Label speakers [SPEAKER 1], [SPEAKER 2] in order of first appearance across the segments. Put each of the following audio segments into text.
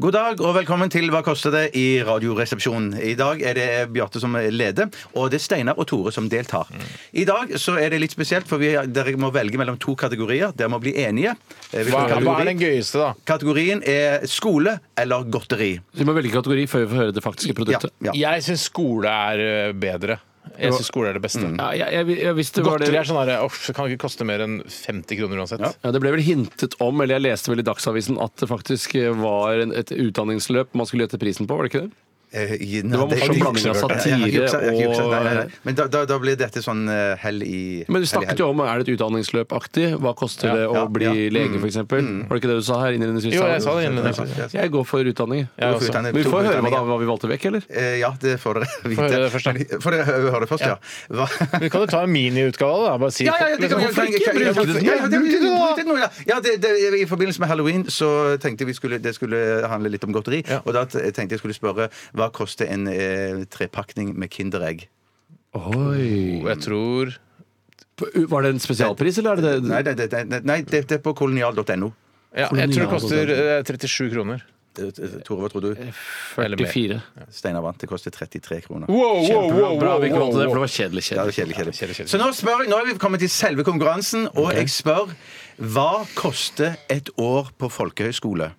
[SPEAKER 1] God dag og velkommen til Hva koster det i Radioresepsjonen. I dag er det Bjarte som leder, og det er Steinar og Tore som deltar. I dag så er det litt spesielt, for vi, dere må velge mellom to kategorier. Dere må bli enige. Eh, hvilken
[SPEAKER 2] Hva, hva
[SPEAKER 1] kategori?
[SPEAKER 2] er den gøyeste, da?
[SPEAKER 1] Kategorien er skole eller godteri.
[SPEAKER 3] Du må velge kategori før vi får høre det faktiske produktet.
[SPEAKER 1] Ja.
[SPEAKER 2] Jeg syns skole er ø, bedre. Jeg syns skole er det
[SPEAKER 1] Mm.
[SPEAKER 2] beste.
[SPEAKER 3] Ja, jeg, jeg, jeg, hvis det, var
[SPEAKER 2] Godteri
[SPEAKER 3] det,
[SPEAKER 2] er sånn her, «Åh, det kan ikke koste mer enn 50 kroner uansett.
[SPEAKER 1] Ja.
[SPEAKER 3] ja, det ble vel hintet om, eller jeg leste vel i Dagsavisen, at det faktisk var en, et utdanningsløp man skulle gjette prisen på, var det ikke det?
[SPEAKER 1] Eh, i-
[SPEAKER 3] Det var
[SPEAKER 1] nei,
[SPEAKER 3] morsom
[SPEAKER 1] jeg har
[SPEAKER 3] blanding av
[SPEAKER 1] ikke juksa- jeg har ikke juksa- jeg har ikke juksa.
[SPEAKER 3] satire
[SPEAKER 1] Nei, nei, nei.
[SPEAKER 3] og
[SPEAKER 1] Men da, da, da blir dette sånn eh, hell i
[SPEAKER 3] Men vi
[SPEAKER 1] hell i
[SPEAKER 3] snakket
[SPEAKER 1] hell.
[SPEAKER 3] jo om er det et utdanningsløp-aktig. Hva koster
[SPEAKER 2] Ja, Mm.
[SPEAKER 3] det å
[SPEAKER 1] ja,
[SPEAKER 3] bli
[SPEAKER 1] ja.
[SPEAKER 3] lege, f.eks.? eksempel? Var det ikke det du sa her? innledningsvis?
[SPEAKER 2] Jo, jeg sa det altså.
[SPEAKER 1] Ja,
[SPEAKER 2] innledningsvis.
[SPEAKER 1] ja, ja.
[SPEAKER 3] Jeg går for utdanning.
[SPEAKER 2] Ja,
[SPEAKER 3] jeg
[SPEAKER 2] også.
[SPEAKER 3] også. Men vi får høre hva, da, hva vi valgte vekk, eller?
[SPEAKER 1] Eh, Ja, det får dere vite.
[SPEAKER 2] Får høre det først, da.
[SPEAKER 1] Men- Får dere hø- høre det først, ja. Hva?
[SPEAKER 2] Men kan du ta en miniutgave av det? da? Bare si
[SPEAKER 1] Ja, ja, ja, det kan
[SPEAKER 2] liksom,
[SPEAKER 1] vi-
[SPEAKER 2] Hvorfor
[SPEAKER 1] kan-
[SPEAKER 2] ikke
[SPEAKER 1] kan-
[SPEAKER 2] bruke det til
[SPEAKER 1] Ja, ja, det- det- det-
[SPEAKER 2] noe?
[SPEAKER 1] bruk det nå, ja. Ja, det- det- I forbindelse med halloween så tenkte vi skulle, det skulle handle litt om godteri.
[SPEAKER 2] Ja.
[SPEAKER 1] Og da t- tenkte jeg skulle spørre hva koster en eh, trepakning med Kinderegg?
[SPEAKER 3] Oi.
[SPEAKER 2] Jeg tror
[SPEAKER 3] Var det en spesialpris, eller er det det?
[SPEAKER 1] Nei, det, det, det, nei, det, det er på kolonial.no.
[SPEAKER 2] ja, Jeg tror det koster ø, 37 kroner.
[SPEAKER 1] Eh, Tore, hva tror du?
[SPEAKER 2] Eller mer.
[SPEAKER 3] 44.
[SPEAKER 1] Steinar vant. Det koster 33 kroner.
[SPEAKER 2] Wow, wow,
[SPEAKER 3] Kjempebra.
[SPEAKER 2] wow,
[SPEAKER 3] Bra vi ikke
[SPEAKER 2] wow,
[SPEAKER 3] valgte det,
[SPEAKER 2] wow.
[SPEAKER 3] for det var kjedelig.
[SPEAKER 1] Ja,
[SPEAKER 3] kjedelig.
[SPEAKER 1] det er kjedelig, Uh. kjedelig.
[SPEAKER 2] Ja, kjedelig, kjedelig.
[SPEAKER 1] Så nå, spør, nå er vi kommet til selve konkurransen, og jeg spør hva koster et år på folkehøyskole?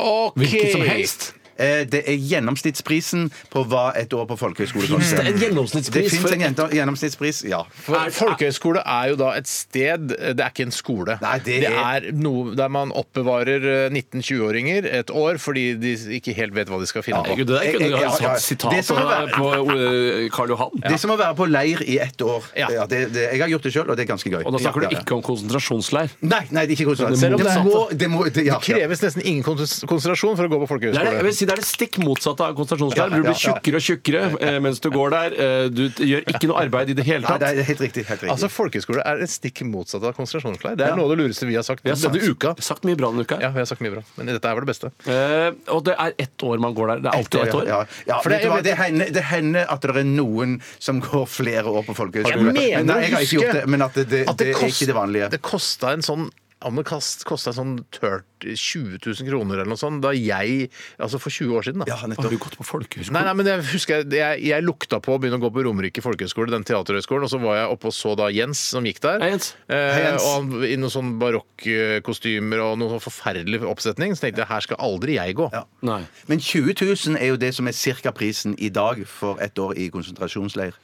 [SPEAKER 2] Ok.
[SPEAKER 3] Hvilket som helst.
[SPEAKER 1] Eh, Det er gjennomsnittsprisen på hva et år på folkehøyskole koster.
[SPEAKER 3] det en gjennomsnittspris
[SPEAKER 1] Det fins
[SPEAKER 3] for
[SPEAKER 1] en jenta- gjennomsnittspris, ja.
[SPEAKER 2] For Folkehøyskole er jo da et sted, det er ikke en skole.
[SPEAKER 1] Nei, det er-
[SPEAKER 2] er noe der man oppbevarer eh, 19-20-åringer et år fordi de ikke helt vet hva de skal finne på.
[SPEAKER 3] Herregud, det der kunne du
[SPEAKER 1] Ja, ja,
[SPEAKER 3] ha
[SPEAKER 1] ja.
[SPEAKER 3] satt
[SPEAKER 1] Det
[SPEAKER 3] sitat
[SPEAKER 1] som
[SPEAKER 3] av
[SPEAKER 1] er-
[SPEAKER 3] på eh, Karl Johan.
[SPEAKER 1] Det er som å være på leir i ett år. Ja.
[SPEAKER 2] Ja.
[SPEAKER 1] det, det, jeg har gjort det sjøl, og det er ganske gøy.
[SPEAKER 3] Og da snakker
[SPEAKER 1] ja,
[SPEAKER 3] du ikke om konsentrasjonsleir.
[SPEAKER 1] Nei, nei, det er ikke konsentrasjon.
[SPEAKER 2] Selv om det er-
[SPEAKER 1] må, det må, det, ja,
[SPEAKER 2] Det kreves nesten ingen kons- konsentrasjon for å gå på
[SPEAKER 3] Det er, det, jeg vil
[SPEAKER 2] folkehøyskole.
[SPEAKER 3] si det er det stikk motsatte av konsentrasjonsleir.
[SPEAKER 1] Ja,
[SPEAKER 3] Du
[SPEAKER 1] ja,
[SPEAKER 3] blir tjukkere og tjukkere eh, mens du går der. Eh, Du t- gjør ikke noe arbeid i det hele
[SPEAKER 1] ja. Nei,
[SPEAKER 3] tatt.
[SPEAKER 1] det er helt riktig. Helt riktig.
[SPEAKER 2] Altså, Folkehøyskole er et stikk motsatt av konsentrasjonsleir. Det er noe av det lureste vi har sagt
[SPEAKER 3] Vi har sagt,
[SPEAKER 2] denne uka.
[SPEAKER 3] sagt mye bra denne uka.
[SPEAKER 2] Ja, vi har sagt mye bra, men dette er vel det beste.
[SPEAKER 3] Eh, og det er ett år man går der. Det er alltid ett år.
[SPEAKER 1] Ja, ja.
[SPEAKER 2] For
[SPEAKER 1] vet
[SPEAKER 2] det-
[SPEAKER 1] du hva, det, hender, det hender at det er noen som går flere år på
[SPEAKER 2] Jeg
[SPEAKER 1] folkehøyskole.
[SPEAKER 2] mener
[SPEAKER 1] Men nei, jeg har ikke gjort det, men at det, det,
[SPEAKER 2] at
[SPEAKER 1] det er ikke det vanlige.
[SPEAKER 2] Det kosta en sånn ja, men kast, kosta en sånn tørt 20 000 kroner eller noe sånt da jeg Altså for 20 år siden, da.
[SPEAKER 1] Ja,
[SPEAKER 3] Har
[SPEAKER 1] nettopp.
[SPEAKER 3] du gått på folkehøyskole?
[SPEAKER 2] Nei, nei, men Jeg husker jeg, jeg, jeg lukta på å begynne å gå på Romerike folkehøgskole, den teaterhøgskolen, og så var jeg oppe og så da Jens som gikk der.
[SPEAKER 3] Hei, Jens.
[SPEAKER 2] Eh,
[SPEAKER 1] Hei, Jens.
[SPEAKER 2] Og han I noen sånn barokkostymer og noen sånn forferdelig oppsetning. Så tenkte jeg her skal aldri jeg gå.
[SPEAKER 1] Ja.
[SPEAKER 3] Nei.
[SPEAKER 1] Men 20 000 er jo det som er cirka prisen i dag for et år i konsentrasjonsleir.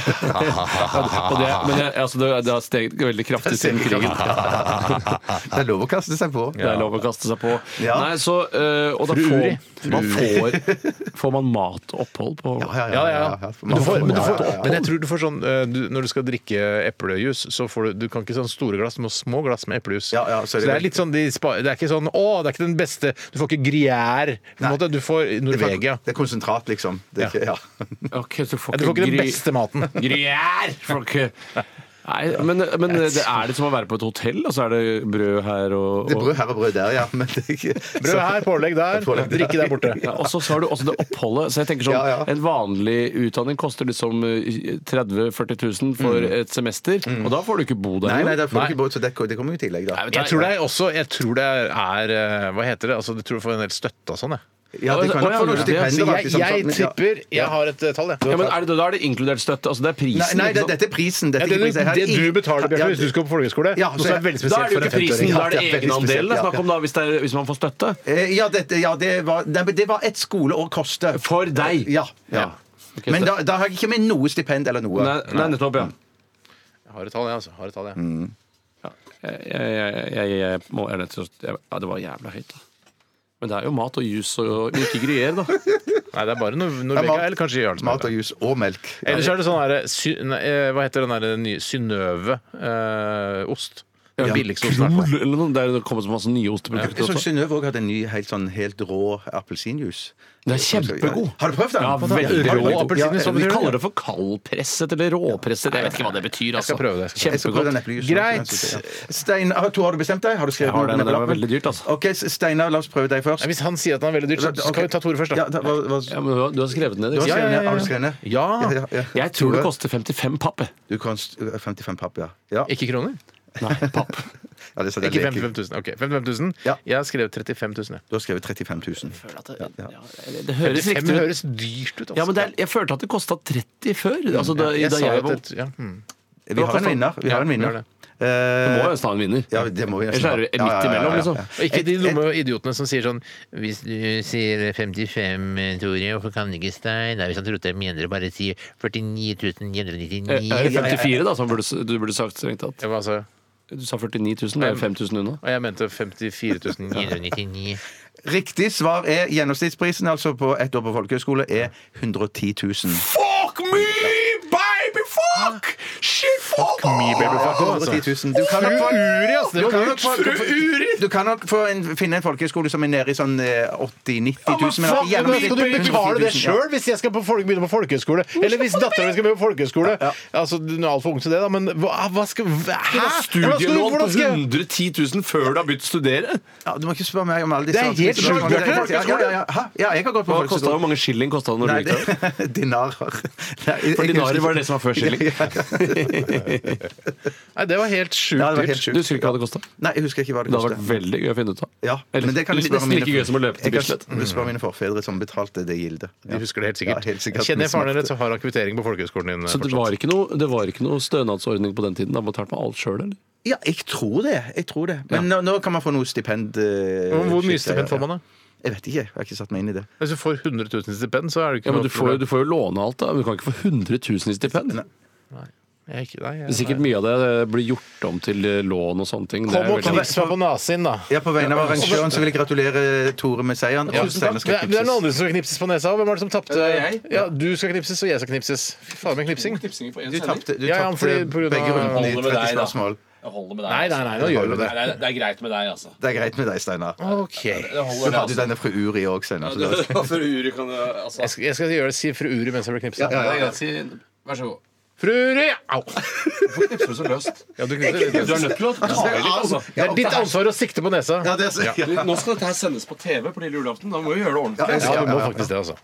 [SPEAKER 3] Og det, men det, altså, det, det har steget veldig kraftig siden krigen.
[SPEAKER 1] Det er lov å kaste seg på.
[SPEAKER 3] Det er lov å kaste seg på.
[SPEAKER 1] Ja.
[SPEAKER 3] Nei, så, eh, og da
[SPEAKER 2] Fruri.
[SPEAKER 3] får man, får, får man mat og opphold på
[SPEAKER 1] Ja, ja, ja.
[SPEAKER 2] Ja, ja, ja. Men, du får, men, du
[SPEAKER 1] Ja, ja,
[SPEAKER 2] får,
[SPEAKER 1] ja, ja.
[SPEAKER 2] men jeg tror du får sånn eh, du, Når du skal drikke eplejus, så får du Du kan ikke sånn store glass, men små glass med eplejus.
[SPEAKER 1] Ja, ja, så
[SPEAKER 2] så,
[SPEAKER 1] er det
[SPEAKER 2] det
[SPEAKER 1] veldig-
[SPEAKER 2] er litt sånn de spa, Det er ikke sånn Å, det er ikke den beste Du får ikke Gruyère. På en måte, du får
[SPEAKER 1] Det er,
[SPEAKER 2] Norvegia.
[SPEAKER 1] fakt- det er konsentrat, liksom. Det er ikke, ja.
[SPEAKER 3] Ok, så får
[SPEAKER 2] Ja, Du får ikke den
[SPEAKER 3] gry-
[SPEAKER 2] beste maten.
[SPEAKER 3] Gruyère! Får ikke eh, Nei, men, men det er det som å være på et hotell? Altså er det brød her og,
[SPEAKER 1] Det er
[SPEAKER 3] og
[SPEAKER 1] brød her og brød der, ja. Men det er ikke
[SPEAKER 2] Brød her, pålegg der,
[SPEAKER 1] Pålegg der.
[SPEAKER 2] drikke der borte.
[SPEAKER 3] ja, og så så har du også det oppholdet. Så jeg tenker sånn,
[SPEAKER 1] Ja, ja.
[SPEAKER 3] En vanlig utdanning koster liksom eh, 30 000-40 000 for et semester, og da får du ikke bo der.
[SPEAKER 1] Mm. Nei, nei,
[SPEAKER 3] det,
[SPEAKER 1] det får du ikke brød, så det, det kommer jo i tillegg, da.
[SPEAKER 2] Jeg tror det er også Jeg tror det er eh, Hva heter det? Altså, jeg tror du får en del støtte og sånn, jeg.
[SPEAKER 1] Ja, det kan
[SPEAKER 3] Å,
[SPEAKER 1] nok
[SPEAKER 3] ja,
[SPEAKER 1] få noen
[SPEAKER 3] ja, ja.
[SPEAKER 1] stipender,
[SPEAKER 2] Så liksom jeg,
[SPEAKER 1] faktisk, som
[SPEAKER 2] jeg
[SPEAKER 1] sånn, ja.
[SPEAKER 2] tipper Jeg har et eh, tall, jeg.
[SPEAKER 3] ja, men er det, da er det inkludert støtte? Altså det er prisen?
[SPEAKER 1] Nei, nei
[SPEAKER 3] ikke
[SPEAKER 1] det,
[SPEAKER 3] sant?
[SPEAKER 1] dette er prisen. Dette
[SPEAKER 2] Ja,
[SPEAKER 1] er
[SPEAKER 2] det,
[SPEAKER 1] ikke prisen. Jeg
[SPEAKER 2] du,
[SPEAKER 1] har
[SPEAKER 2] det du
[SPEAKER 1] ingen-
[SPEAKER 2] betaler,
[SPEAKER 1] Ja,
[SPEAKER 2] Bjarte, hvis du skal på folkehøyskole,
[SPEAKER 1] Ja,
[SPEAKER 2] noe som er veldig
[SPEAKER 3] da er
[SPEAKER 2] spesielt
[SPEAKER 3] det jo
[SPEAKER 2] for en
[SPEAKER 3] ikke prisen,
[SPEAKER 2] femtøring.
[SPEAKER 1] Ja,
[SPEAKER 3] da er det
[SPEAKER 1] ja, veldig spesielt,
[SPEAKER 3] egenandelen det er
[SPEAKER 1] ja.
[SPEAKER 3] snakk om da, hvis, det er, hvis man får støtte.
[SPEAKER 1] Eh, Ja, dette, ja det, var, nei, men det var et skoleår koste.
[SPEAKER 3] For deg.
[SPEAKER 1] Ja. ja.
[SPEAKER 3] Ja. Ok,
[SPEAKER 1] Men
[SPEAKER 3] så-
[SPEAKER 1] da, da har jeg ikke med noe stipend eller noe.
[SPEAKER 3] Nei, nei, nettopp, ja.
[SPEAKER 2] Jeg har et tall, jeg, altså. Jeg Har et tall, jeg.
[SPEAKER 3] Jeg, jeg, jeg, jeg, jeg må jeg, er nødt til å- jeg, ja, Det var jævla høyt, da. Men det er jo mat og jus og og ikke gruyere, da.
[SPEAKER 2] Nei, det er bare Nor
[SPEAKER 1] Ja,
[SPEAKER 2] Norvegia,
[SPEAKER 1] mat-
[SPEAKER 2] eller kanskje
[SPEAKER 1] Mat og
[SPEAKER 2] Jarlsberg.
[SPEAKER 1] jus og melk.
[SPEAKER 2] Ellers er det sånn her sy nei, eh, Hva heter den der nye eh, Synnøve-ost? den billigste osten. i hvert fall.
[SPEAKER 3] Kol eller noe. Det er- det kommer så masse nye osteprodukter
[SPEAKER 1] Jeg så
[SPEAKER 3] også.
[SPEAKER 1] Synnøve òg hadde en ny, helt sånn helt rå appelsinjuice. Altså,
[SPEAKER 3] Den er kjempegod.
[SPEAKER 1] Har du prøvd den?
[SPEAKER 3] Ja, veldig
[SPEAKER 1] Har du prøvd
[SPEAKER 3] rå
[SPEAKER 1] den?
[SPEAKER 2] appelsinjuice,
[SPEAKER 1] Ja,
[SPEAKER 2] så
[SPEAKER 3] Vi
[SPEAKER 2] betyr det-
[SPEAKER 3] kaller det for kaldpresset eller råpresset. Jeg vet ikke hva det betyr. Altså.
[SPEAKER 2] skal prøve det, jeg skal
[SPEAKER 1] jeg skal prøve den
[SPEAKER 3] Kjempegodt.
[SPEAKER 1] eplejusen.
[SPEAKER 2] Greit.
[SPEAKER 1] Stein, har, Tor, har du bestemt deg? Har du skrevet
[SPEAKER 3] Jeg har
[SPEAKER 1] noe
[SPEAKER 3] den,
[SPEAKER 1] ned på
[SPEAKER 3] den var
[SPEAKER 1] lappen?
[SPEAKER 3] veldig dyrt, altså.
[SPEAKER 1] Ok, Steinar, la oss prøve deg først.
[SPEAKER 2] Nei, Hvis han sier at den er veldig dyr,
[SPEAKER 1] Ok.
[SPEAKER 2] så skal vi ta Tore først,
[SPEAKER 1] Ja, da,
[SPEAKER 2] da.
[SPEAKER 1] hva, hva,
[SPEAKER 3] Ja, men du har- du har skrevet den ned.
[SPEAKER 1] du har
[SPEAKER 3] ikke sant?
[SPEAKER 1] skrevet ned? Har du
[SPEAKER 2] ja.
[SPEAKER 1] skrevet ned?
[SPEAKER 2] Ja.
[SPEAKER 1] ja, ja.
[SPEAKER 3] Jeg tror det
[SPEAKER 1] Tore,
[SPEAKER 3] koster 55 papp. jeg.
[SPEAKER 1] Du kan st- 55 papp, ja. ja.
[SPEAKER 2] Ikke kroner?
[SPEAKER 3] Nei, papp.
[SPEAKER 1] Ja, det er sånn jeg
[SPEAKER 2] Ikke
[SPEAKER 1] leker.
[SPEAKER 2] 55 000. Ok, 55 000.
[SPEAKER 1] Ja.
[SPEAKER 2] Jeg har skrevet 35 000. jeg.
[SPEAKER 1] Du har skrevet 35 000.
[SPEAKER 3] Jeg føler at det, ja, det, det høres
[SPEAKER 2] 35
[SPEAKER 3] riktig
[SPEAKER 2] det
[SPEAKER 3] ut.
[SPEAKER 2] høres dyrt ut, altså.
[SPEAKER 3] Ja, men det er, jeg følte at det kosta 30 før. Altså, da,
[SPEAKER 2] jeg
[SPEAKER 3] da
[SPEAKER 2] sa
[SPEAKER 3] jeg
[SPEAKER 2] jo
[SPEAKER 3] var,
[SPEAKER 2] at et- ja, hmm.
[SPEAKER 1] Vi har en vinner. Vi har en
[SPEAKER 2] Ja, vi
[SPEAKER 1] vinner.
[SPEAKER 2] har
[SPEAKER 3] det må
[SPEAKER 1] Eh,
[SPEAKER 3] jo nesten ha en vinner.
[SPEAKER 1] ja, det må vi nesten
[SPEAKER 3] Ellers
[SPEAKER 1] ha.
[SPEAKER 3] er det
[SPEAKER 1] Ja, ja,
[SPEAKER 3] midt
[SPEAKER 1] ja, ja,
[SPEAKER 3] imellom,
[SPEAKER 1] ja.
[SPEAKER 3] liksom.
[SPEAKER 2] Og ikke de dumme idiotene som sier sånn Hvis du sier 55, Tore, hvorfor kan du ikke Stein? Nei, hvis han trodde jeg mener det, bare si 49
[SPEAKER 3] Er det
[SPEAKER 2] 999.
[SPEAKER 3] 54, da, som burde, du burde sagt strengt tatt?
[SPEAKER 2] Jeg, var altså,
[SPEAKER 3] Du sa 49 000, det er jo 5000 unna.
[SPEAKER 2] og jeg mente 54 999.
[SPEAKER 1] Riktig svar er gjennomsnittsprisen altså på ett år på folkehøyskole er 110 000.
[SPEAKER 3] Fuck me, baby, fuck! Shit, fuck!
[SPEAKER 2] Mye babyfuck også, altså.
[SPEAKER 1] 110 000. Du kan nok få,
[SPEAKER 2] Uri, altså! Det
[SPEAKER 1] du
[SPEAKER 2] var
[SPEAKER 1] kan
[SPEAKER 2] kult.
[SPEAKER 1] nok få, du kan nok få en, finne en folkehøyskole som er nede i sånn 80 000-90 000.
[SPEAKER 2] men faen,
[SPEAKER 1] gjerne
[SPEAKER 2] men skal du
[SPEAKER 1] 110 000,
[SPEAKER 2] betale det
[SPEAKER 1] ja.
[SPEAKER 2] sjøl hvis jeg skal på folk, begynne på folkehøyskole? Eller hvis dattera mi skal begynne på folkehøyskole? Altså, du er altfor ung til det, da, men hva, hva skal hva, Hæ? Hvordan skal du-
[SPEAKER 3] Studielån på
[SPEAKER 2] hvordan skal jeg-
[SPEAKER 3] 110 000 før du har begynt å studere?
[SPEAKER 1] Ja, du må ikke spørre meg om alle disse
[SPEAKER 2] Det er helt
[SPEAKER 1] andre spørsmålene.
[SPEAKER 2] sjukt, Bjarte.
[SPEAKER 1] Ja, ja, ja. Hæ? ja, jeg har gått på
[SPEAKER 3] Hva kosta
[SPEAKER 1] folkehøyskole.
[SPEAKER 3] hvor mange skilling kosta det når
[SPEAKER 1] Nei,
[SPEAKER 3] du
[SPEAKER 1] det,
[SPEAKER 3] gikk der?
[SPEAKER 1] dinarer. Nei, jeg-
[SPEAKER 3] For
[SPEAKER 1] jeg husker
[SPEAKER 3] dinarer
[SPEAKER 1] ikke.
[SPEAKER 3] var det som var før skilling.
[SPEAKER 2] Nei, det var helt sjukt.
[SPEAKER 1] Ja, det var helt
[SPEAKER 2] dyrt.
[SPEAKER 1] sjukt.
[SPEAKER 3] Du husker ikke hva det kosta?
[SPEAKER 1] Nei, jeg husker ikke hva det
[SPEAKER 3] Det hadde vært
[SPEAKER 1] kostet.
[SPEAKER 3] veldig gøy å finne ut av.
[SPEAKER 1] Ja, men det kan jeg
[SPEAKER 3] Eller
[SPEAKER 1] spørre
[SPEAKER 3] nesten like
[SPEAKER 1] mine-
[SPEAKER 3] gøy som å løpe til
[SPEAKER 1] Jeg kan
[SPEAKER 3] Bislett.
[SPEAKER 1] Spørre mine forfedre som betalte det gildet.
[SPEAKER 2] De husker det helt sikkert.
[SPEAKER 1] Ja, helt sikkert.
[SPEAKER 2] Kjenner jeg faren din rett, så har han kvittering på folkehøyskolen din. eh,
[SPEAKER 3] Så det
[SPEAKER 2] fortsatt.
[SPEAKER 3] var ikke noe, det var ikke noe stønadsordning på den tiden? Da betalte man alt sjøl, eller?
[SPEAKER 1] Ja, jeg tror det. Jeg tror det. Men nå, nå kan man få noe stipend. eh,
[SPEAKER 2] Men Hvor mye
[SPEAKER 1] shit, ja,
[SPEAKER 2] stipend får man,
[SPEAKER 1] ja.
[SPEAKER 2] da?
[SPEAKER 1] Jeg vet ikke. Jeg har ikke satt meg inn i det.
[SPEAKER 2] Hvis du får 100 000 i stipend, så er det ikke
[SPEAKER 3] Ja, men
[SPEAKER 2] noe
[SPEAKER 3] du
[SPEAKER 2] problem.
[SPEAKER 3] får, jo- du får jo låne alt, da. Men du kan ikke få 100 000 i stipend.
[SPEAKER 2] Jeg er ikke- nei, jeg-
[SPEAKER 3] Sikkert
[SPEAKER 2] nei.
[SPEAKER 3] mye av det blir gjort om til eh, lån og sånne ting. Det er
[SPEAKER 2] Kom og
[SPEAKER 3] veldig-
[SPEAKER 2] knips meg på nesen, da.
[SPEAKER 1] Ja, På vegne av arrangøren så vil jeg gratulere Tore med seieren.
[SPEAKER 2] Ja,
[SPEAKER 1] og
[SPEAKER 2] tusen takk.
[SPEAKER 1] Steinar
[SPEAKER 2] Det
[SPEAKER 1] skal
[SPEAKER 2] er, det er
[SPEAKER 1] knipses.
[SPEAKER 2] noen andre som skal knipses på nesa. Hvem er det som tapte?
[SPEAKER 1] Det er jeg.
[SPEAKER 2] Ja, du skal knipses, og jeg skal knipses. Fy faen meg knipsing.
[SPEAKER 1] Du tapte du
[SPEAKER 2] Ja, ja,
[SPEAKER 1] tapte
[SPEAKER 2] fordi på grunn av-
[SPEAKER 1] begge rundene i
[SPEAKER 4] Holder med
[SPEAKER 1] 30
[SPEAKER 4] deg, da.
[SPEAKER 1] spørsmål.
[SPEAKER 4] Jeg holder med deg. altså.
[SPEAKER 2] Nei, nei, nei, nå gjør vi det.
[SPEAKER 4] Nei, det, er, det er greit med deg, altså.
[SPEAKER 1] Det er greit med deg, Steinar.
[SPEAKER 2] Ok.
[SPEAKER 4] Det
[SPEAKER 1] Du
[SPEAKER 4] holder
[SPEAKER 1] hadde jo
[SPEAKER 4] det,
[SPEAKER 1] denne fru Uri òg, Steinar. så altså. det var-
[SPEAKER 4] altså. For Uri kan du altså.
[SPEAKER 2] Jeg skal, jeg skal gjøre det, si fru Uri mens jeg blir knipsa.
[SPEAKER 4] Det er greit. Si- Vær så god.
[SPEAKER 2] Fru Uri! Au!
[SPEAKER 4] Hvorfor knipser du så løst?
[SPEAKER 2] Ja, du knipser litt.
[SPEAKER 4] Du er nødt til å ta i litt, altså.
[SPEAKER 2] Det er ditt ansvar å sikte på nesa.
[SPEAKER 1] Ja, det er så- ja.
[SPEAKER 4] Nå skal dette her sendes på TV på lille julaften. Da må vi gjøre det ordentlig.
[SPEAKER 1] Ja,
[SPEAKER 2] Ja, du må faktisk det, altså.